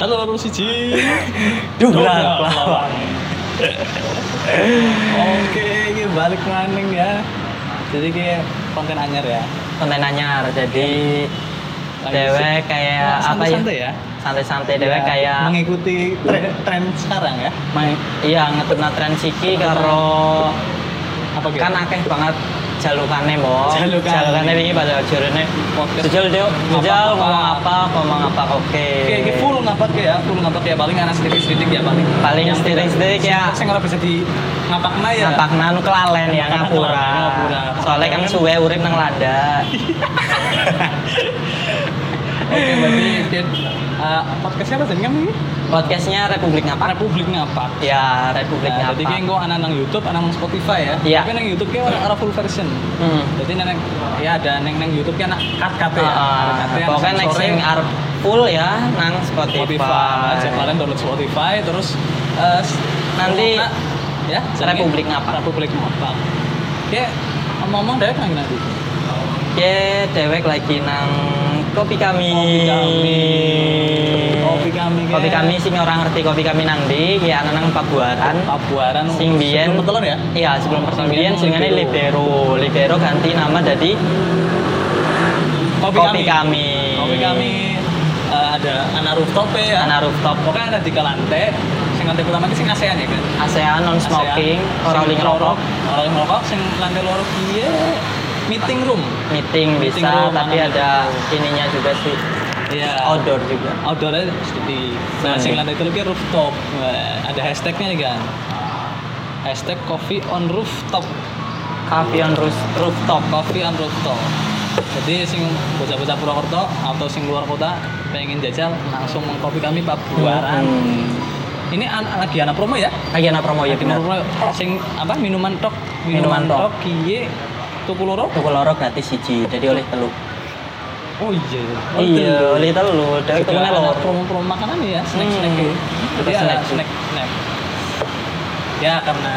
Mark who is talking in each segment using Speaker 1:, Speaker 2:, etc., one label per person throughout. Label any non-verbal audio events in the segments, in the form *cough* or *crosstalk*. Speaker 1: telu siji.
Speaker 2: Dongkrak
Speaker 1: Dongkrak
Speaker 2: lawan.
Speaker 1: Oke, ini balik maning ya. Jadi ini konten anyar ya.
Speaker 2: konten anyar jadi
Speaker 1: Lagi
Speaker 2: dewek kayak apa ya
Speaker 1: Santai ya.
Speaker 2: santai-santai
Speaker 1: Ya,
Speaker 2: dewek kayak
Speaker 1: mengikuti tren, tren sekarang ya.
Speaker 2: main- iya ngetutna tren siki karo
Speaker 1: Apa gitu?
Speaker 2: kan akeh banget jalukane mbok
Speaker 1: Jalukane.
Speaker 2: jalukane wingi pada jurune
Speaker 1: Podcast.
Speaker 2: jejal deo
Speaker 1: Ngapa-ngapa.
Speaker 2: jejal ngomong apa ngomong apa oke
Speaker 1: Oke, ini full ngapak ya, full ngapak ya paling anak sedikit-sedikit ya paling.
Speaker 2: Paling
Speaker 1: Yang tidak-
Speaker 2: sedikit-sedikit ya.
Speaker 1: Sing ora bisa di ngapakna ya.
Speaker 2: Napakna nu kelalen ya ngapura.
Speaker 1: Ngapura.
Speaker 2: Soalnya kan suwe urip nang lada.
Speaker 1: Oke, berarti Dit, eh, podcastnya apa jenenge ini?
Speaker 2: Podcastnya Republik Ngapak.
Speaker 1: Republik ngapak.
Speaker 2: Ya, Republik
Speaker 1: Nah, jadi kayak
Speaker 2: Ngapak.
Speaker 1: gue anak nang YouTube, anak nang Spotify ya.
Speaker 2: Iya.
Speaker 1: Tapi nang YouTube kayak orang full version.
Speaker 2: Hmm.
Speaker 1: Jadi neng ya ada neng neng YouTube kayak anak cut cut ya.
Speaker 2: Ah,
Speaker 1: Cut-cut ya,
Speaker 2: Pokoknya
Speaker 1: anak
Speaker 2: next
Speaker 1: sore,
Speaker 2: thing arep full ya nang Spotify.
Speaker 1: Spotify. Aja kalian download Spotify terus eh, s-
Speaker 2: Nanti
Speaker 1: nah, ya jadi
Speaker 2: Republik Ngapak.
Speaker 1: Republik ngapak. Ya ngomong-ngomong dari nang nanti.
Speaker 2: Hmm? Ye, dewek lagi nang kopi kami.
Speaker 1: Kopi Kami. Kopi Kami, guys.
Speaker 2: Kopi kami sing orang ngerti kopi kami nang ndi, ya ana nang Pabuaran.
Speaker 1: Pabuaran
Speaker 2: Sing biyen
Speaker 1: sebelum petelur ya.
Speaker 2: Iya, sebelum
Speaker 1: Sing
Speaker 2: pertandingan
Speaker 1: biyen
Speaker 2: jenenge Libero. Libero ganti nama jadi
Speaker 1: Kopi,
Speaker 2: Kopi
Speaker 1: kami.
Speaker 2: Kami.
Speaker 1: Kopi kami eh, ada anak rooftop ya.
Speaker 2: Ana rooftop
Speaker 1: Pokoknya ada tiga lantai. Sing lantai pertama itu sing ASEAN ya kan.
Speaker 2: ASEAN non smoking,
Speaker 1: ASEAN,
Speaker 2: orang
Speaker 1: sing
Speaker 2: link rokok,
Speaker 1: orang Iya. ngerokok sing lantai loro iya meeting room
Speaker 2: meeting bisa,
Speaker 1: Meeting room,
Speaker 2: tapi
Speaker 1: mana
Speaker 2: ada ininya juga sih
Speaker 1: iya
Speaker 2: outdoor juga.
Speaker 1: outdoornya di nah
Speaker 2: Hmm.
Speaker 1: sing lantai telu ki rooftop Wah, ada hashtagnya nih kan hashtag coffee on rooftop
Speaker 2: Cafe on roof- rooftop.
Speaker 1: coffee on rooftop jadi sing bocah-bocah Purwokerto atau sing luar kota pengen jajal langsung mengkopi kami Pak Buaran ini an- lagi anak promo ya
Speaker 2: Lagi ana promo ya
Speaker 1: Hmm. lagi anak
Speaker 2: Hmm. benar.
Speaker 1: promo sing apa minuman tok minuman,
Speaker 2: Minuman tok.
Speaker 1: tok kiye tuku loro
Speaker 2: Tuku loro gratis siji, jadi oleh telu.
Speaker 1: oh iya Oh,
Speaker 2: Iya,
Speaker 1: telu.
Speaker 2: oleh telu. Dewek
Speaker 1: Itu
Speaker 2: tukune
Speaker 1: ada
Speaker 2: loro.
Speaker 1: promo-promo makanan ya, snack-snack
Speaker 2: Hmm.
Speaker 1: gitu. Jadi
Speaker 2: Ada
Speaker 1: ada
Speaker 2: snack.
Speaker 1: snack-snack. Ya karena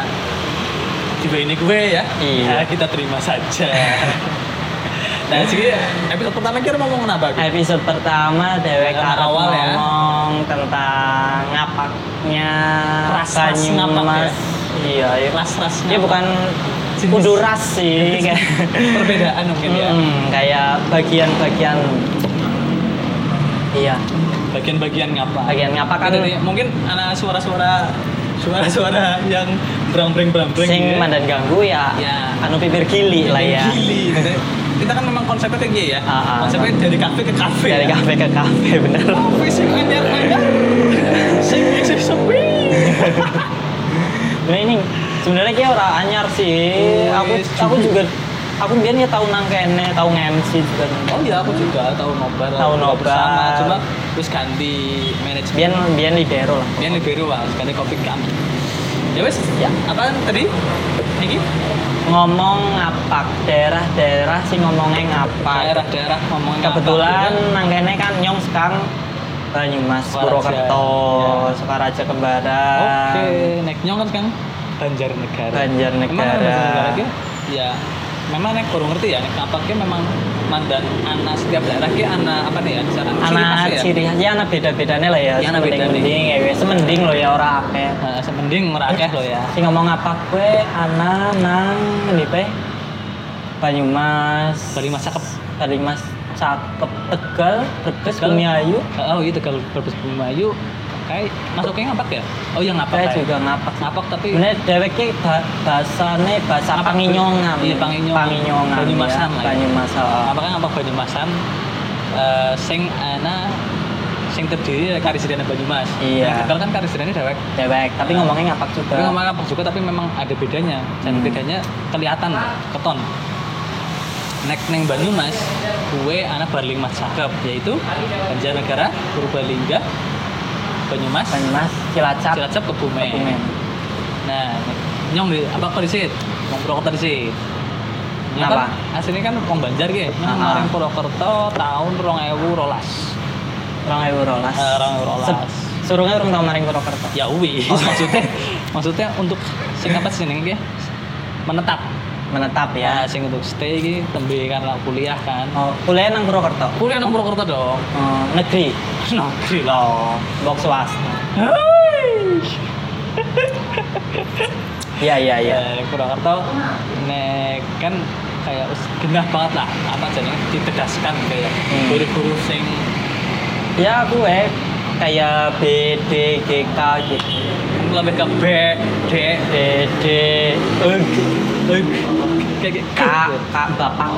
Speaker 1: tiba ini gue ya,
Speaker 2: Iya.
Speaker 1: ya kita terima
Speaker 2: *laughs*
Speaker 1: saja. nah jadi episode pertama kira mau ngomongin apa? Gitu?
Speaker 2: Episode pertama dewek
Speaker 1: Yang
Speaker 2: arep
Speaker 1: awal ya.
Speaker 2: ngomong tentang ngapaknya
Speaker 1: Ras-ras ngapak
Speaker 2: Banyumas. Iya, iya.
Speaker 1: Ras-rasnya.
Speaker 2: Dia bukan
Speaker 1: Jenis.
Speaker 2: kudu ras sih kayak
Speaker 1: perbedaan mungkin ya.
Speaker 2: *laughs* Hmm, kayak bagian-bagian Iya,
Speaker 1: Bagian-bagian ngapa?
Speaker 2: bagian ngapak kan
Speaker 1: Jadi, mungkin anak suara-suara suara-suara yang berang-breng berang-breng
Speaker 2: sing
Speaker 1: gitu ya.
Speaker 2: mandan ganggu ya,
Speaker 1: Ya.
Speaker 2: anu bibir gili lah ya.
Speaker 1: Gili. Jadi, kita kan memang konsepnya kayak gini ya.
Speaker 2: Ah, ah.
Speaker 1: Konsepnya dari kafe ke kafe.
Speaker 2: Dari
Speaker 1: ya.
Speaker 2: kafe ke kafe bener.
Speaker 1: Kopi sing anyar-anyar. Sing isih sepi.
Speaker 2: Nah ini sebenarnya kayak orang anyar sih.
Speaker 1: Oh,
Speaker 2: aku
Speaker 1: yes.
Speaker 2: aku juga aku biar ya tahu nang kene, tahu MC juga.
Speaker 1: Oh iya aku juga tahu nobar.
Speaker 2: Tahu
Speaker 1: Aku juga
Speaker 2: nobar.
Speaker 1: bersama. Cuma terus ganti manajemen.
Speaker 2: Biar biar libero lah.
Speaker 1: Biar lebih ruang, terus ganti kopi kami. Ya wes,
Speaker 2: Ya.
Speaker 1: apaan tadi? Ini
Speaker 2: Ngomong ngapak daerah-daerah sih ngomongnya ngapak.
Speaker 1: daerah-daerah ngomongin
Speaker 2: Kebetulan nang kene kan nyong sekang Banyumas,
Speaker 1: Sukaraja.
Speaker 2: Purwokerto,
Speaker 1: Ya.
Speaker 2: Sukaraja Kembaran.
Speaker 1: Oke, nek nyong kan kan Banjarnegara.
Speaker 2: eh, Banjarnegara.
Speaker 1: Emang ada Banjarnegara ki? Ya, memang nek kurang ngerti ya, nek apa ki memang mandan anak setiap daerah ki anak apa nih ya? Cara
Speaker 2: anak ciri khasnya anak beda-bedanya lah ya
Speaker 1: Iya, anak
Speaker 2: mending mending ya wes mending lo ya ora akeh
Speaker 1: Nah, semending merakeh lo ya.
Speaker 2: si ngomong apa gue anak nang ini teh Banyumas
Speaker 1: Banyumas cakep.
Speaker 2: Banyumas cakep Tegal Brebes
Speaker 1: Tegal.
Speaker 2: Bumiayu
Speaker 1: Oh iya Tegal Brebes Bumayu. Kayak masuknya ngapak ya? Oh iya ngapak.
Speaker 2: saya
Speaker 1: ya.
Speaker 2: juga ngapak
Speaker 1: ngapak tapi
Speaker 2: bener dheweke ba bahasane bahasa
Speaker 1: Ngapak.
Speaker 2: Panginyongan
Speaker 1: Iya, Panginyongan.
Speaker 2: Panginyongan
Speaker 1: Banyumasan lah
Speaker 2: ya.
Speaker 1: ya.
Speaker 2: Banyumasan
Speaker 1: ngapaknya ngapak Banyumasan. Eh sing ana sing terdiri dari Karisdana Banyumas.
Speaker 2: Iya.
Speaker 1: Nah, Tegal kan Karisdana dewek.
Speaker 2: dhewek tapi ngomongnya ngapak juga
Speaker 1: Nah. Tapi ngomong ngapak juga tapi memang ada bedanya. Dan
Speaker 2: Hmm.
Speaker 1: bedanya kelihatan keton. Nek neng Banyumas, kue anak Barling Mas cakep yaitu Banjarnegara, Purbalingga, Banyumas,
Speaker 2: Banyumas Cilacap
Speaker 1: Cilacap, Kebumen.
Speaker 2: Kebumen.
Speaker 1: Nah, nyong di apa kok disit? Wong Purwokerto disit. Nyong
Speaker 2: Kenapa?
Speaker 1: kan aslinya kan wong Banjar ge. Nyong
Speaker 2: Ah,
Speaker 1: kemarin
Speaker 2: ah.
Speaker 1: Purwokerto tahun 2012.
Speaker 2: Rong ewu rolas.
Speaker 1: Eh, rong ewu rolas.
Speaker 2: Sep- Surungnya urung tau maring Purwokerto. *laughs*
Speaker 1: *laughs* Ya uwi, maksudnya maksudnya untuk sing apa sih jenenge ge? Menetap.
Speaker 2: menetap
Speaker 1: Nah,
Speaker 2: ya.
Speaker 1: sing untuk stay iki tembe kan lah kuliah kan.
Speaker 2: Oh, kuliah nang Purwokerto.
Speaker 1: Kuliah nang Purwokerto dong. *laughs*
Speaker 2: Oh, negeri.
Speaker 1: Negeri lah.
Speaker 2: Oh, box swasta. Iya, iya, iya.
Speaker 1: Ya, Purwokerto nek kan kayak us- genah banget lah apa jadi ditegaskan kayak
Speaker 2: Hmm.
Speaker 1: guru-guru sing
Speaker 2: Ya gue kayak B D G K gitu. G
Speaker 1: lebih ke B, D,
Speaker 2: D D
Speaker 1: Eng, Eng, kayak gitu.
Speaker 2: K K bapak K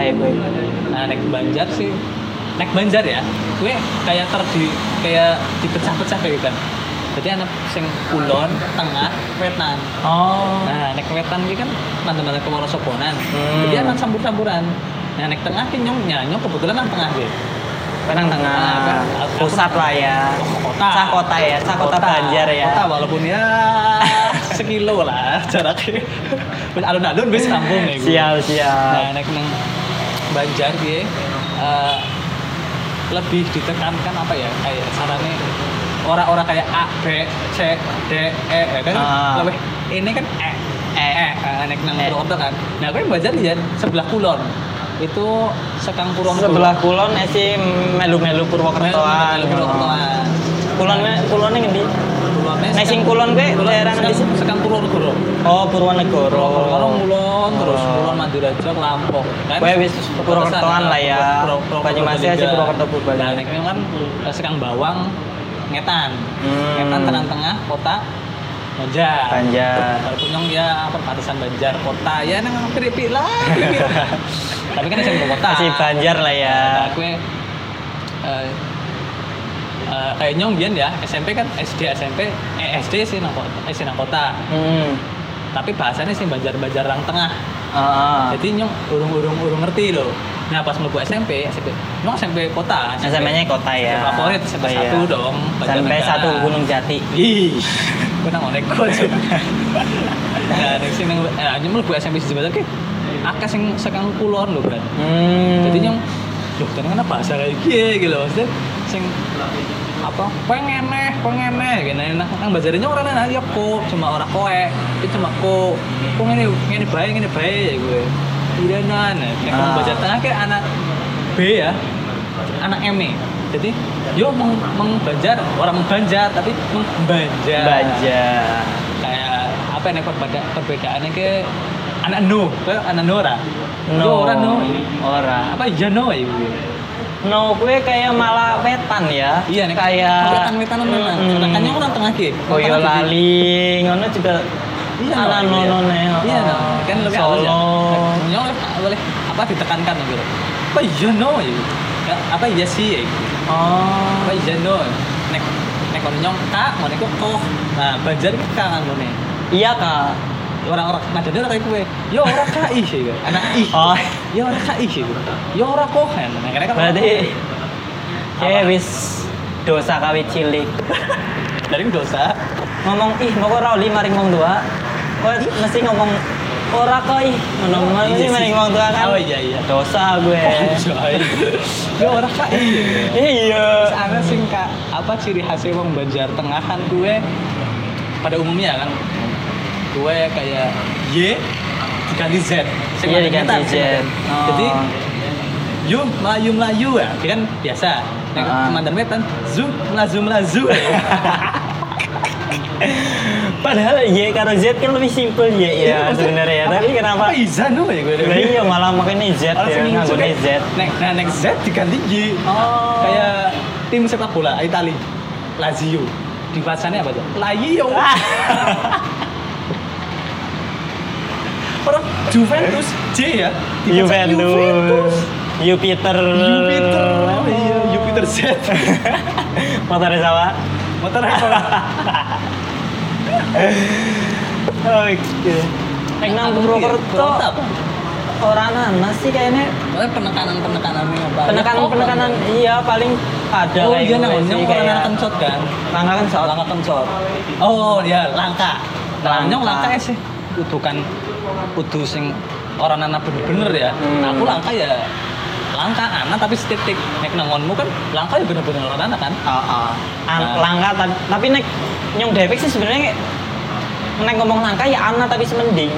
Speaker 2: kayak gitu. gue.
Speaker 1: Nah, nek Banjar sih, nek Banjar ya, gue kayak terdi kayak dipecah-pecah kayak gitu kan. Jadi anak sing kulon, tengah, wetan.
Speaker 2: Oh.
Speaker 1: Nah, nek wetan iki kan mantan-mantan kewarasobonan.
Speaker 2: Hmm.
Speaker 1: Jadi anak campur-campuran. Nah, nek tengah ki nyong, ya nyong kebetulan nang tengah gue.
Speaker 2: Penang tengah
Speaker 1: Ah, aku-
Speaker 2: Nah, pusat lah ya.
Speaker 1: Kota.
Speaker 2: Sah kota ya, sah kota Banjar ya.
Speaker 1: Kota walaupun ya *laughs* sekilo lah jaraknya. *laughs* Wis alun-alun wis kampung ya gue.
Speaker 2: Sial,
Speaker 1: Nah,
Speaker 2: sial.
Speaker 1: nek nang Banjar piye? eh, lebih ditekankan apa ya? Kayak sarannya orang-orang kayak A, B, C, D, E ya kan
Speaker 2: Ah.
Speaker 1: lebih ini kan E.
Speaker 2: E.
Speaker 1: E, eh, nek nang
Speaker 2: E.
Speaker 1: Purwokerto kan. Nah, gue Banjar ya sebelah kulon. Itu sekang Purwokerto. Nah,
Speaker 2: Sebelah kulon eh sih melu-melu Purwokertoan. Oh.
Speaker 1: Purwokertoan.
Speaker 2: Kulon kulonnya ngendi?
Speaker 1: Kulonnya
Speaker 2: Nek sing
Speaker 1: sekang-
Speaker 2: kulon gue daerah ngendi sih?
Speaker 1: sekang, sekang Purwokerto.
Speaker 2: Oh, Purwonegoro.
Speaker 1: Purwokerto kulon terus
Speaker 2: Oh.
Speaker 1: kulon Madurajo Lampung kan.
Speaker 2: Weh, wis Purwokertoan lah ya.
Speaker 1: Pur- Pur- Pur-
Speaker 2: Banyumasnya
Speaker 1: Purbalingga.
Speaker 2: sih Purwokerto
Speaker 1: Nah,
Speaker 2: Purbalingga.
Speaker 1: nek ini kan eh, Sekang Bawang Ngetan.
Speaker 2: Hmm.
Speaker 1: Ngetan tengah-tengah kota Banjar.
Speaker 2: Banjar.
Speaker 1: Kalau Kunyong ya perbatasan Banjar kota ya nang piripik lah.
Speaker 2: *laughs*
Speaker 1: piripik lah. Tapi kan sing kota.
Speaker 2: Masih Banjar lah ya.
Speaker 1: Nah, gue eh, eh, kayak nyong biyen ya SMP kan SD SMP eh, SD sih nang kota, eh, sih nang kota.
Speaker 2: Hmm.
Speaker 1: Tapi bahasanya sih Banjar-Banjar Rang Tengah.
Speaker 2: Ah.
Speaker 1: Jadi nyong urung-urung urung ngerti loh. Nah pas mau SMP, SMP, nyong SMP kota.
Speaker 2: SMP-nya kota ya.
Speaker 1: SMP favorit SMP
Speaker 2: Iya.
Speaker 1: satu dong.
Speaker 2: SMP satu Gunung Jati.
Speaker 1: Ih, gue nang onek
Speaker 2: *laughs*
Speaker 1: gue juga. Nah, dari sini nang, nah, nyong mlebu SMP sih sebenarnya, akeh sing sekang kulon loh kan.
Speaker 2: Hmm.
Speaker 1: Jadi nyong, loh ternyata bahasa kayak gini gitu maksudnya, sing apa pengen neh pengen neh gitu nah nang bajarin nyong orang nanya kok cuma orang koe itu cuma ko kok ini ini baik ini baik ya gue udah nan nek
Speaker 2: Ah.
Speaker 1: nang bajar tengah kayak anak B ya anak M nih jadi yo meng, mengbanjar orang mengbanjar tapi mengbanjar
Speaker 2: Banjar.
Speaker 1: kayak apa yang perbeda perbedaannya ke anak nu kayak anak Nora Yo, ora nu
Speaker 2: Ora.
Speaker 1: apa ya no ya gue
Speaker 2: No gue kayak malah wetan ya.
Speaker 1: iya nek
Speaker 2: kayak
Speaker 1: wetan wetan mana
Speaker 2: Mm.
Speaker 1: sedangkannya orang tengah ki
Speaker 2: Koyo lali, ngono juga
Speaker 1: Iya,
Speaker 2: ala
Speaker 1: no,
Speaker 2: nono
Speaker 1: iya.
Speaker 2: neo.
Speaker 1: Iya, no. kan lebih halus ya.
Speaker 2: oh. Solo.
Speaker 1: Nyong boleh apa ditekankan gitu. Apa ya no ya? gitu. Ya, Apa ya sih ya? gitu.
Speaker 2: Oh.
Speaker 1: Apa ya no? Nek nek kon nyong kak, mau nek koh. Nah, banjar iki kak kan ngene.
Speaker 2: Iya kak.
Speaker 1: Orang-orang Madani orang kayak gue. Yo ora kak ih ya. gitu. Anak ih.
Speaker 2: Oh.
Speaker 1: Yo ora kak ih ya. gitu. Yo ora koh kan. Nah, karena kan
Speaker 2: Berarti
Speaker 1: Apa?
Speaker 2: kayak wis dosa kawit cilik.
Speaker 1: dari dosa.
Speaker 2: Ngomong ih mau kok rauli maring wong dua. Kok mesti ngomong ora kok ih ngono
Speaker 1: Iya
Speaker 2: mesti
Speaker 1: sih.
Speaker 2: maring wong dua kan.
Speaker 1: Oh iya iya.
Speaker 2: Dosa
Speaker 1: *laughs*
Speaker 2: gue.
Speaker 1: Anjay. Yo ora kak ih. ya, gitu. Terus
Speaker 2: Iya.
Speaker 1: ada sing kak apa ciri khasnya wong Banjar tengahan gue pada umumnya kan gue kayak Y diganti Z. Sing
Speaker 2: Iya,
Speaker 1: ada
Speaker 2: diganti
Speaker 1: nyetan, sing ada.
Speaker 2: Z. Oh.
Speaker 1: Jadi Yu melayu melayu ya, dia kan biasa. Nah,
Speaker 2: Ah.
Speaker 1: Mandan web kan zu melazu melazu.
Speaker 2: Padahal Y karo Z kan lebih simpel Y *laughs* ya sebenarnya. Tapi kenapa?
Speaker 1: Iya, Apa Iza no ya gue?
Speaker 2: Lah iya malah makanya Z ya,
Speaker 1: Orang sing
Speaker 2: nganggone
Speaker 1: suka,
Speaker 2: Z.
Speaker 1: Nek nah nek Z diganti Y.
Speaker 2: Oh.
Speaker 1: Kayak tim sepak bola Itali, Lazio. Dibacanya apa tuh? Lazio. *laughs* Orang Juventus J ya. Dibaca
Speaker 2: Juventus. Jupiter.
Speaker 1: Jupiter. Oh iya, Jupiter
Speaker 2: *laughs*
Speaker 1: Z.
Speaker 2: Motor sawah.
Speaker 1: Motor apa?
Speaker 2: Oke. Nek nang Purwokerto orang nanas sih kayaknya
Speaker 1: penekanan-penekanannya apa?
Speaker 2: penekanan-penekanan iya paling ada
Speaker 1: Oh
Speaker 2: kayak
Speaker 1: iya, nah,
Speaker 2: gue
Speaker 1: ini
Speaker 2: sih,
Speaker 1: orang kencot kan?
Speaker 2: Langkah kan soal
Speaker 1: Langkah kencot. Oh iya, langka.
Speaker 2: Langka.
Speaker 1: Nyong langka ya sih. Kudu kan kudu sing orang anak bener-bener ya.
Speaker 2: Hmm.
Speaker 1: Aku langka ya langka anak tapi setitik. Nek nangonmu kan langka ya bener-bener
Speaker 2: Ah,
Speaker 1: orang anak kan.
Speaker 2: Heeh. An-
Speaker 1: Nah.
Speaker 2: langkah tapi, tapi nek nyong dewek sih sebenarnya kayak nek ngomong langka ya ana tapi semending.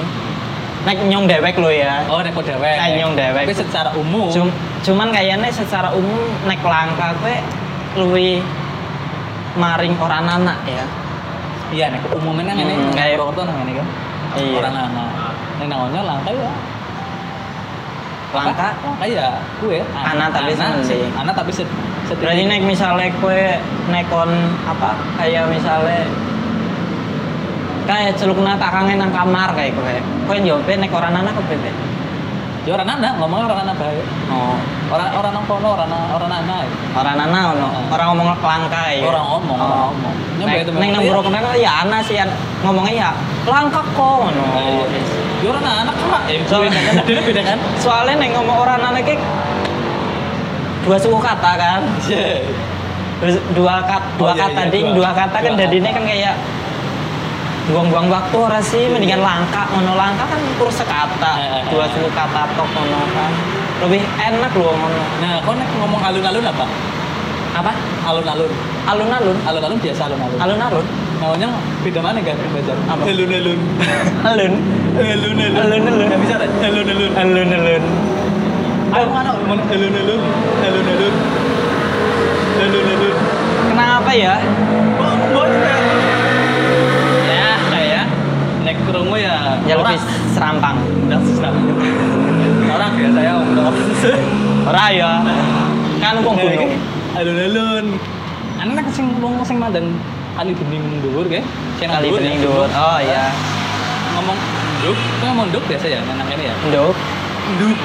Speaker 2: Nek nyong dewek lo ya.
Speaker 1: oh neko dewek
Speaker 2: Nek nyong dewek.
Speaker 1: tapi secara umum
Speaker 2: Cum- cuman kayaknya secara umum nek langka kue luwi maring orang anak ya.
Speaker 1: iya neko umumnya nang ini
Speaker 2: Hmm, kayak-
Speaker 1: Purwokerto nang ini kan
Speaker 2: Iya.
Speaker 1: orang lama ini nang Onyo langka ya
Speaker 2: Langka.
Speaker 1: langka ya kue
Speaker 2: Anak tapi semending.
Speaker 1: anak tapi se- setidaknya.
Speaker 2: Berarti nek misalnya kue nekon apa kayak misalnya kayak celukna tak kangen nang kamar kayak kue. Kue jawabnya nek orang anak kue be.
Speaker 1: ya orang anak ngomongnya orang anak baik
Speaker 2: Oh,
Speaker 1: orang orang nang kono orang orang anak
Speaker 2: orang anak ono. Orang ngomong langka ya.
Speaker 1: orang ngomong
Speaker 2: Oh.
Speaker 1: orang ngomong Nyampe
Speaker 2: Nek
Speaker 1: itu
Speaker 2: nek nang
Speaker 1: memang-
Speaker 2: buruk kan ya anak sih an- ngomongnya ya langka kok ono.
Speaker 1: Iya. Ya orang anak kan ya
Speaker 2: So-
Speaker 1: beda kan Adanya beda kan
Speaker 2: Soalnya nek ngomong orang anak kayak dua suku kata kan.
Speaker 1: Iya.
Speaker 2: Terus dua kat dua
Speaker 1: Oh, iya,
Speaker 2: kata
Speaker 1: iya,
Speaker 2: ding
Speaker 1: dua-
Speaker 2: dua kata kan
Speaker 1: dua
Speaker 2: jadinya
Speaker 1: kata. Iya,
Speaker 2: kan kayak buang-buang waktu ora sih mendingan langka ngono langka kan kur sekata
Speaker 1: Eh, eh,
Speaker 2: dua
Speaker 1: eh.
Speaker 2: suku kata tok ngono kan lebih enak loh ngono
Speaker 1: nah kau nek ngomong alun-alun apa
Speaker 2: apa
Speaker 1: alun-alun
Speaker 2: alun-alun
Speaker 1: alun-alun biasa alun-alun
Speaker 2: alun-alun
Speaker 1: namanya beda mana kan belajar
Speaker 2: Apa?
Speaker 1: alun-alun
Speaker 2: alun
Speaker 1: alun-alun
Speaker 2: Alun-alun.
Speaker 1: Nggak bisa kan alun-alun
Speaker 2: alun-alun
Speaker 1: aku anak ngomong alun-alun alun-alun alun-alun
Speaker 2: kenapa ya
Speaker 1: Bos,
Speaker 2: ya kayak
Speaker 1: nek kerungu ya
Speaker 2: ya
Speaker 1: orang.
Speaker 2: lebih serampang
Speaker 1: Udah *laughs* susah. orang ya saya ngomong
Speaker 2: ora ya
Speaker 1: *laughs*
Speaker 2: kan wong
Speaker 1: Nah,
Speaker 2: gunung
Speaker 1: alun-alun anak sing wong sing mandang kali bening dhuwur ge Sing nang
Speaker 2: kali
Speaker 1: dhuwur,
Speaker 2: bening
Speaker 1: ya.
Speaker 2: dhuwur oh ya
Speaker 1: ngomong nduk kan ngomong nduk biasa ya anak ini ya
Speaker 2: nduk
Speaker 1: nduk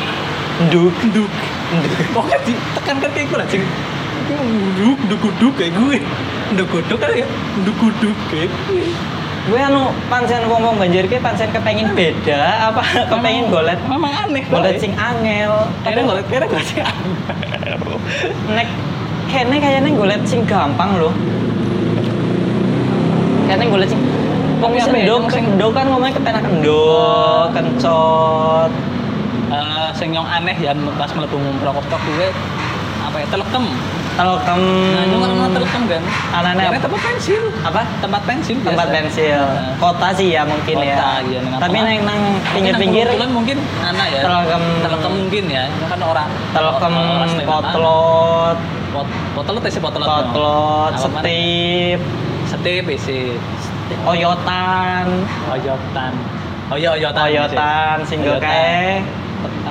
Speaker 2: nduk
Speaker 1: nduk pokoknya ditekankan kayak gue lah sing nduk nduk nduk kayak gue nduk nduk kan ya nduk nduk kayak gue
Speaker 2: gue anu pancen wong wong banjir ki pancen kepengen beda apa *laughs* kepengen golet
Speaker 1: memang aneh
Speaker 2: golet sing angel
Speaker 1: kayaknya
Speaker 2: tapi
Speaker 1: golet kayaknya golet sing
Speaker 2: nek kene kayaknya golet sing gampang loh kayaknya golet sing
Speaker 1: Tapi
Speaker 2: Wong
Speaker 1: apa ya,
Speaker 2: sendok,
Speaker 1: yang sing- Oh.
Speaker 2: sendok kan ngomongnya kepenak kendok, kencot,
Speaker 1: Eh, sing yang aneh ya pas melebu Purwokerto gue apa ya telekem
Speaker 2: telkem,
Speaker 1: nah itu kan ngomong telekem kan
Speaker 2: Anane
Speaker 1: Kayaknya
Speaker 2: apa?
Speaker 1: tempat pensil
Speaker 2: apa?
Speaker 1: tempat pensil biasa.
Speaker 2: Tempat pensil,
Speaker 1: Nah.
Speaker 2: kota sih ya mungkin
Speaker 1: Kota,
Speaker 2: ya.
Speaker 1: iya, nang
Speaker 2: Tapi
Speaker 1: tengah.
Speaker 2: nang nang
Speaker 1: Tapi
Speaker 2: pinggir-pinggir,
Speaker 1: nang Pulau Kulon mungkin anak ya
Speaker 2: Telekem.
Speaker 1: telekem mungkin ya Itu kan orang
Speaker 2: telkem,
Speaker 1: orang- orang Sleman.
Speaker 2: potlot,
Speaker 1: Pot, potelot ya sih potelot.
Speaker 2: potlot,
Speaker 1: Apa mana?
Speaker 2: setip,
Speaker 1: Setip ya sih.
Speaker 2: oyotan
Speaker 1: Oyotan. Oyo oyotan.
Speaker 2: oyotan
Speaker 1: sih.
Speaker 2: single
Speaker 1: Oyotan.
Speaker 2: kayak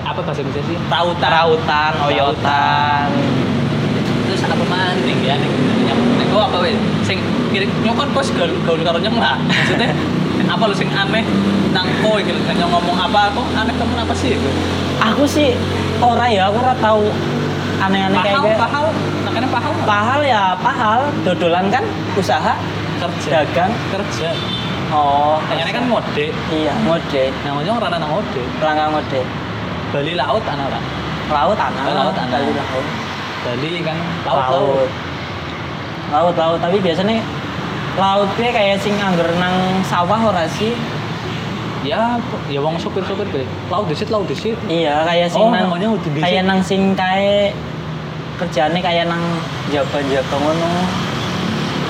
Speaker 1: Apa bahasa Indonesia sih? Rautan.
Speaker 2: rautan oyotan
Speaker 1: Terus apa maning ya ning ning ning gua apa weh? Sing kirim nyokon kos gaul gaul karo nyeng lah. Maksudnya apa lu sing aneh nang kowe gitu kan Yang ngomong apa kok aneh temen apa sih gitu.
Speaker 2: aku sih ora ya aku ora tahu aneh-aneh kayak
Speaker 1: Pahal,
Speaker 2: gitu
Speaker 1: pahal, makanya pahal
Speaker 2: pahal ya pahal dodolan kan usaha
Speaker 1: kerja
Speaker 2: dagang
Speaker 1: kerja.
Speaker 2: oh
Speaker 1: Makanya kan mode.
Speaker 2: iya mode
Speaker 1: Namanya orang anak mode.
Speaker 2: pelanggan mode
Speaker 1: Bali laut anak lah.
Speaker 2: laut tanah
Speaker 1: Laut, tanah.
Speaker 2: Bali, laut
Speaker 1: Bali kan laut laut.
Speaker 2: laut laut laut tapi biasanya lautnya kayak sing angger nang sawah ora sih
Speaker 1: ya ya wong sopir sopir be laut desit laut desit
Speaker 2: Iya, kayak sing
Speaker 1: Oh,
Speaker 2: nang
Speaker 1: namanya udah di-
Speaker 2: kayak nang sing kae kerjane kayak nang jaga-jaga ngono.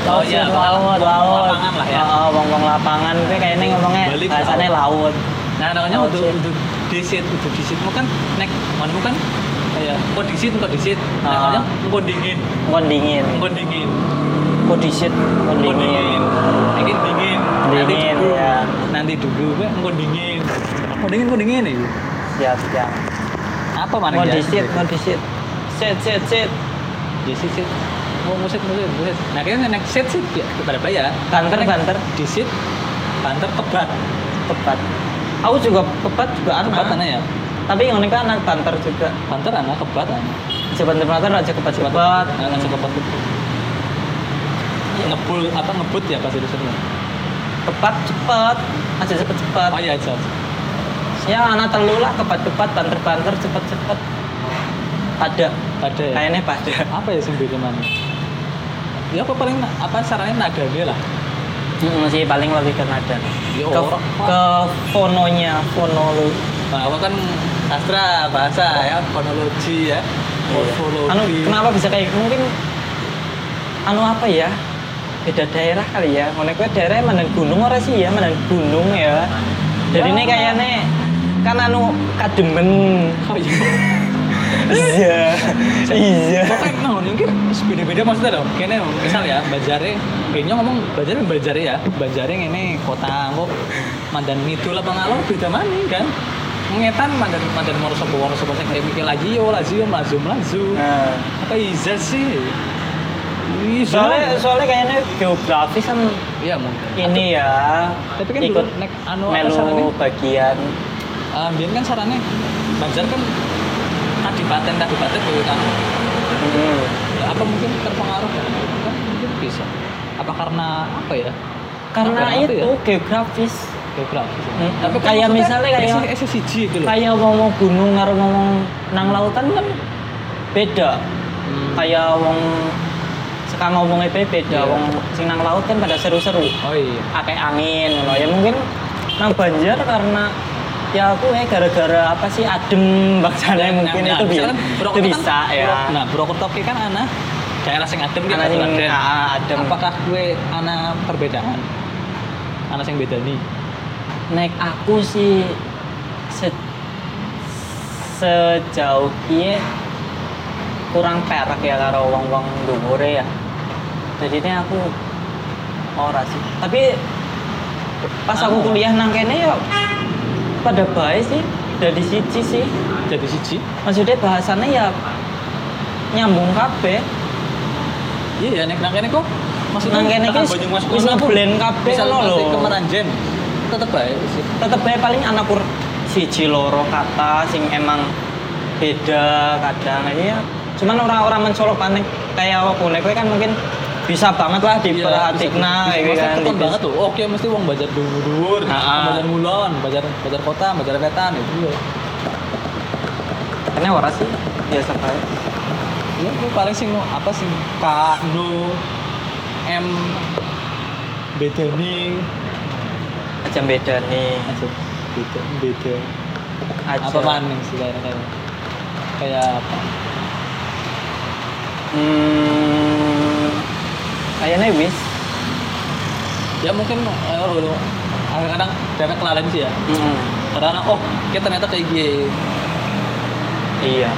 Speaker 1: Oh,
Speaker 2: Laut
Speaker 1: iya,
Speaker 2: sing
Speaker 1: wong-
Speaker 2: laut,
Speaker 1: wong- wong
Speaker 2: laut.
Speaker 1: lapangan lah ya.
Speaker 2: Heeh, wong-wong lapangan kuwi kayaknya ngomongnya
Speaker 1: Balik ke
Speaker 2: bahasane laut.
Speaker 1: nah namanya
Speaker 2: Laut
Speaker 1: udah
Speaker 2: desit.
Speaker 1: udah desit udah desitmu kan nek manmu kan ya kok desit kok desit Nah,
Speaker 2: Ah.
Speaker 1: namanya engko dingin
Speaker 2: Kon dingin,
Speaker 1: engko dingin
Speaker 2: kok disit, kon
Speaker 1: engko
Speaker 2: dingin.
Speaker 1: dingin ini dingin nanti
Speaker 2: Dingin,
Speaker 1: dulu
Speaker 2: ya.
Speaker 1: nanti dulu be engko dingin engko dingin engko dingin ya
Speaker 2: Siap, siap.
Speaker 1: apa mana
Speaker 2: Kon disit, kon disit. Sit, sit, sit.
Speaker 1: desit sit mau musik musik musik nah kayaknya nek sit sit ya kepada bayar
Speaker 2: Banter, banter,
Speaker 1: desit banter kebat
Speaker 2: tepat. Aku juga tepat juga ah. anak.
Speaker 1: kebat anak ya
Speaker 2: Tapi yang kan anak banter juga.
Speaker 1: banter anak kebat ah. anak
Speaker 2: Sebentar banter aja kepat-kepat.
Speaker 1: cepat Nah, langsung ke pot ngebul apa ngebut ya pas itu sering
Speaker 2: Tepat cepat. Aja cepat-cepat.
Speaker 1: oh iya aja
Speaker 2: Ya anak telu lah kepat-kepat, banter-banter, cepet-cepet. Pada,
Speaker 1: ada ya
Speaker 2: kayaknya pada.
Speaker 1: apa ya sing beda mana ya apa paling apa sarannya nada dia lah
Speaker 2: Hmm, sih paling lebih ke nada.
Speaker 1: Ya,
Speaker 2: ke,
Speaker 1: orang.
Speaker 2: ke fononya, fonolo.
Speaker 1: nah, aku kan sastra bahasa ya fonologi ya
Speaker 2: Anu,
Speaker 1: morfologi
Speaker 2: kenapa bisa kayak mungkin anu gitu? apa ya? beda daerah kali ya mana kue daerah mana gunung ora sih ya mana gunung ya jadi
Speaker 1: Ya.
Speaker 2: ini kayaknya kan anu kademen
Speaker 1: Oh iya.
Speaker 2: iya iya
Speaker 1: Bahkan nah, mungkin beda-beda maksudnya loh. Kayaknya misal ya Bajare, ini ngomong Bajare Bajare ya. Bajare ini kota kok Mandan Midul apa ngalo beda mana kan? Ngetan Mandan Mandan Wonosobo Wonosobo sing kayak mikir lagi yo lagi yo melazu melazu.
Speaker 2: nah
Speaker 1: Apa Iza sih? Iza.
Speaker 2: soalnya soalnya kayaknya geografis kan
Speaker 1: Iya mungkin.
Speaker 2: ini ya
Speaker 1: Tapi kan
Speaker 2: ikut
Speaker 1: dulu nek anu apa sarannya?
Speaker 2: melu bagian
Speaker 1: Eh, Biyen kan sarannya Banjar kan kadipaten kadipaten gitu kan.
Speaker 2: Hmm.
Speaker 1: Apa mungkin terpengaruh? Kan mungkin bisa. Apa karena apa ya?
Speaker 2: karena
Speaker 1: Apa- apa
Speaker 2: itu
Speaker 1: ya?
Speaker 2: geografis
Speaker 1: geografis.
Speaker 2: Hmm. Kayak misalnya kayak-
Speaker 1: SSG gitu loh.
Speaker 2: kayak ngomong gunung karo ngomong nang lautan kan beda
Speaker 1: Hmm.
Speaker 2: kayak wong sekarang ngomongnya pe
Speaker 1: Iya.
Speaker 2: beda wong sing nang laut kan pada seru-seru
Speaker 1: Oh iya.
Speaker 2: akeh angin ngono. ya mungkin nang banjir karena ya aku eh gara-gara apa sih adem bangsane mungkin
Speaker 1: Nah,
Speaker 2: itu, bi-
Speaker 1: misalkan
Speaker 2: itu
Speaker 1: Purwokerto
Speaker 2: bisa
Speaker 1: kan-
Speaker 2: ya
Speaker 1: Nah, Purwokerto ki kan ana daerah sing adem Nah,
Speaker 2: karena sing
Speaker 1: adem.
Speaker 2: ah, adem
Speaker 1: Apakah gue ana perbedaan? Ana sing beda nih.
Speaker 2: naik aku sih se- sejauh kia kurang perak ya karo wong wong dure ya jadi ini aku ora sih tapi pas aku
Speaker 1: Anu.
Speaker 2: kuliah nang kene ya pada baik sih dari siji sih
Speaker 1: Jadi siji.
Speaker 2: maksudnya bahasannya ya nyambung kabeh
Speaker 1: Iya ya nek nang kene kok maksudnya
Speaker 2: Nang kene ki
Speaker 1: tekan
Speaker 2: wis-
Speaker 1: Banyumas
Speaker 2: wis
Speaker 1: kuno pun,
Speaker 2: ngeblend kabeh
Speaker 1: misal
Speaker 2: ngono
Speaker 1: nanti
Speaker 2: lho.
Speaker 1: ke Meranjen tetep bae sih.
Speaker 2: tetep bae paling anak kur siji loro kata sing emang beda kadang ya cuman orang-orang mencolok panik kayak aku nek kowe kan mungkin bisa banget lah diperhatikna
Speaker 1: Iya,
Speaker 2: gitu
Speaker 1: bisa- bisa- bisa-
Speaker 2: kan
Speaker 1: bisa- Iya, banget tuh. Oke, mesti wong bajar dhuwur,
Speaker 2: Ah, ah.
Speaker 1: bajar mulon, bajar bajar kota, bajar wetan itu. ya.
Speaker 2: karena ora sih biasa bae
Speaker 1: ya gue paling sing apa sing K No M beda nih
Speaker 2: aja beda nih
Speaker 1: aja beda beda
Speaker 2: aja
Speaker 1: apa maning sih kayak kayak kayak apa
Speaker 2: hmm kayaknya wis
Speaker 1: ya mungkin eh, lu kadang-kadang karena kelalen sih ya
Speaker 2: Hmm,
Speaker 1: karena oh kita ternyata kayak gini
Speaker 2: iya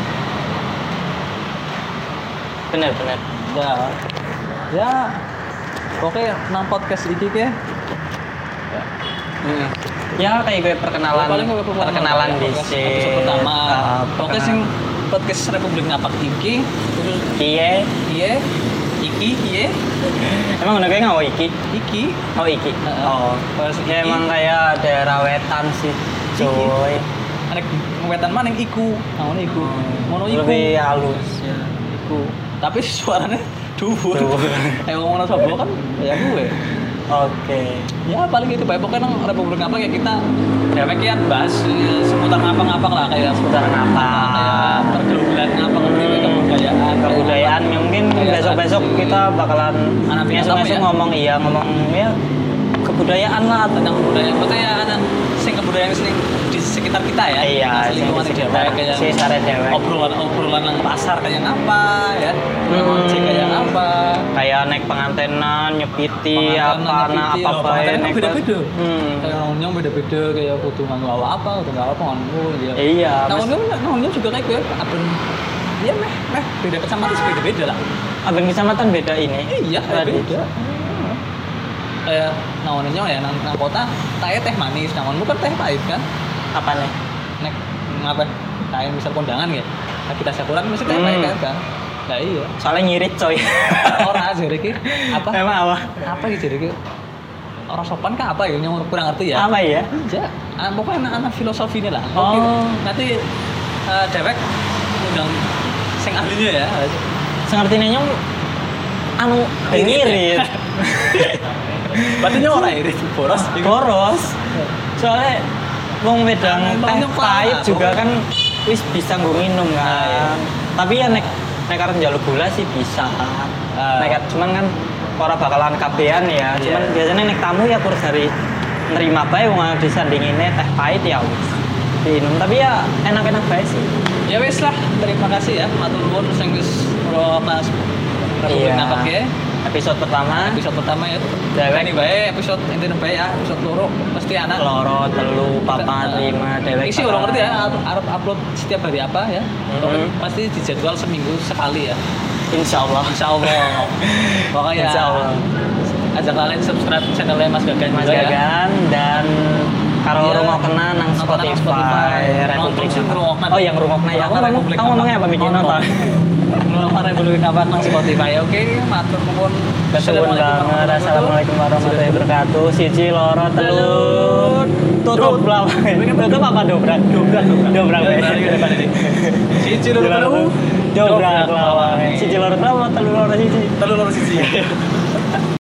Speaker 2: bener bener
Speaker 1: ya ya oke nang podcast iki ke
Speaker 2: Hmm. Ya kayak gue perkenalan,
Speaker 1: paling gue perkenalan,
Speaker 2: perkenalan
Speaker 1: ya,
Speaker 2: di
Speaker 1: podcast
Speaker 2: sini.
Speaker 1: episode pertama
Speaker 2: Ah,
Speaker 1: oke
Speaker 2: perkenalan.
Speaker 1: sing podcast Republik Ngapak iki terus
Speaker 2: Iya,
Speaker 1: iye iki iye
Speaker 2: emang udah kayak nggak mau iki?
Speaker 1: iki
Speaker 2: Oh iki.
Speaker 1: Heeh.
Speaker 2: Oh,
Speaker 1: Terus
Speaker 2: ya
Speaker 1: iki.
Speaker 2: emang kayak daerah wetan sih,
Speaker 1: Iki.
Speaker 2: cuy.
Speaker 1: ada ngewetan mana yang iku tahun iku mono iku Iya.
Speaker 2: Hmm. Lebih halus ya.
Speaker 1: iku tapi *laughs* suaranya dubur *laughs*
Speaker 2: Dhuwur.
Speaker 1: eh ngomong sobo kan ya gue
Speaker 2: Oke.
Speaker 1: ya paling itu baik pokoknya nang republik apa ya kita ya kian bahas eh, seputar ngapa-ngapa lah kayak seputar
Speaker 2: Seputar ngapa?
Speaker 1: kayak pergaulan ngapa
Speaker 2: Hmm.
Speaker 1: kebudayaan
Speaker 2: Kebudayaan mungkin
Speaker 1: Kayak
Speaker 2: besok-besok
Speaker 1: tadi.
Speaker 2: kita bakalan
Speaker 1: Anak Vietnam
Speaker 2: besok-besok
Speaker 1: ya?
Speaker 2: ngomong iya ngomong ya kebudayaan lah
Speaker 1: tentang kebudayaan maksudnya ya ada sing kebudayaan sing di sekitar kita ya
Speaker 2: Iya,
Speaker 1: Nah,
Speaker 2: sing di
Speaker 1: lingkungan
Speaker 2: sekitar-
Speaker 1: dewek kayak
Speaker 2: sekitar dewek.
Speaker 1: obrolan obrolan nang pasar kayak ngapa ya
Speaker 2: Hmm.
Speaker 1: ngoceh kayak apa
Speaker 2: kayak naik pengantenan nyepiti apa nah apa
Speaker 1: oh,
Speaker 2: apa
Speaker 1: beda beda
Speaker 2: Hmm.
Speaker 1: kayak orang nyong beda beda kayak kudu nganggo awak apa kudu nganggo apa nganggo ya
Speaker 2: Iya.
Speaker 1: nah
Speaker 2: mas-
Speaker 1: orang nyong orang nyong juga kayak gue aben ya meh meh beda kecamatan beda beda lah
Speaker 2: Abang kecamatan beda ini.
Speaker 1: iya
Speaker 2: Tadi.
Speaker 1: beda kayak naon nyong ya nang, nang kota tae teh manis naon bukan teh pahit kan
Speaker 2: Apa nih?
Speaker 1: nek ngapa tae misal kondangan ya nah, kita sakuran mesti teh pahit
Speaker 2: Hmm.
Speaker 1: kan kan lah iya
Speaker 2: Soalnya ngirit coy.
Speaker 1: orang aja iki apa
Speaker 2: *laughs* Emang apa?
Speaker 1: apa gitu iki orang sopan kah apa ya nyong kurang ngerti ya
Speaker 2: Apa ya?
Speaker 1: Enggak, Ah, pokoknya anak-anak filosofi ini lah. Oke,
Speaker 2: Oh.
Speaker 1: Nanti eh, dewek undang sing ahlinya ya.
Speaker 2: Sengertinya nyong anu
Speaker 1: ya?
Speaker 2: ngirit.
Speaker 1: *laughs* Berarti nya ora irit boros.
Speaker 2: Iya. Boros. Soalnya wong wedang
Speaker 1: Emang
Speaker 2: teh
Speaker 1: nyong
Speaker 2: pahit
Speaker 1: parah,
Speaker 2: juga
Speaker 1: boros.
Speaker 2: kan wis bisa nggo minum
Speaker 1: Ah, iya.
Speaker 2: kan. Tapi ya nek nek arep njaluk gula sih bisa.
Speaker 1: Ah.
Speaker 2: Nek arep- cuman kan ora bakalan kabehan ya.
Speaker 1: Iya.
Speaker 2: Cuman biasanya nek tamu ya kurang dari nerima bae wong ada disandinginnya teh pahit ya wis. Diinum tapi ya enak-enak bae sih.
Speaker 1: Ya wes lah, terima kasih ya matur nuwun sing wis ora pas Republik
Speaker 2: Iya.
Speaker 1: Napak ya.
Speaker 2: episode pertama
Speaker 1: episode pertama ya
Speaker 2: Dewek.
Speaker 1: ini baik episode ini baik ya episode loro mesti anak
Speaker 2: loro telu papat lima dewek
Speaker 1: isi orang ngerti ya up- up- upload setiap hari apa ya
Speaker 2: Mhm.
Speaker 1: pasti dijadwal seminggu sekali ya
Speaker 2: insya Allah
Speaker 1: insya
Speaker 2: *laughs*
Speaker 1: Allah ya. pokoknya
Speaker 2: Insya Allah.
Speaker 1: ajak kalian subscribe channelnya Mas Gagan
Speaker 2: Mas
Speaker 1: juga ya.
Speaker 2: Gagan dan kalau
Speaker 1: Iya.
Speaker 2: rumah kena nang
Speaker 1: Nonton nang Spotify.
Speaker 2: Spotify, Republik
Speaker 1: Nonton sing ngrungokna.
Speaker 2: Oh yang rungokna ya,
Speaker 1: Aku
Speaker 2: aku ngomong,
Speaker 1: Republik
Speaker 2: kamu ngomongnya apa
Speaker 1: Kapan?
Speaker 2: bikin nonton?
Speaker 1: Ngrungokna Republik kapan nang Spotify Ya, oke matur nuwun
Speaker 2: Kesuwun banget, Assalamualaikum warahmatullahi wabarakatuh Siji loro telu Tutup lah, tutup apa dobrak? Dobrak, dobrak Dobrak,
Speaker 1: kan Dobrak, Iya, dobrak, dobrak. Siji loro telu.
Speaker 2: Dobrak
Speaker 1: Dobrak
Speaker 2: lawan
Speaker 1: lawan.
Speaker 2: Siji loro telu, telu loro siji *laughs*
Speaker 1: Telu loro siji.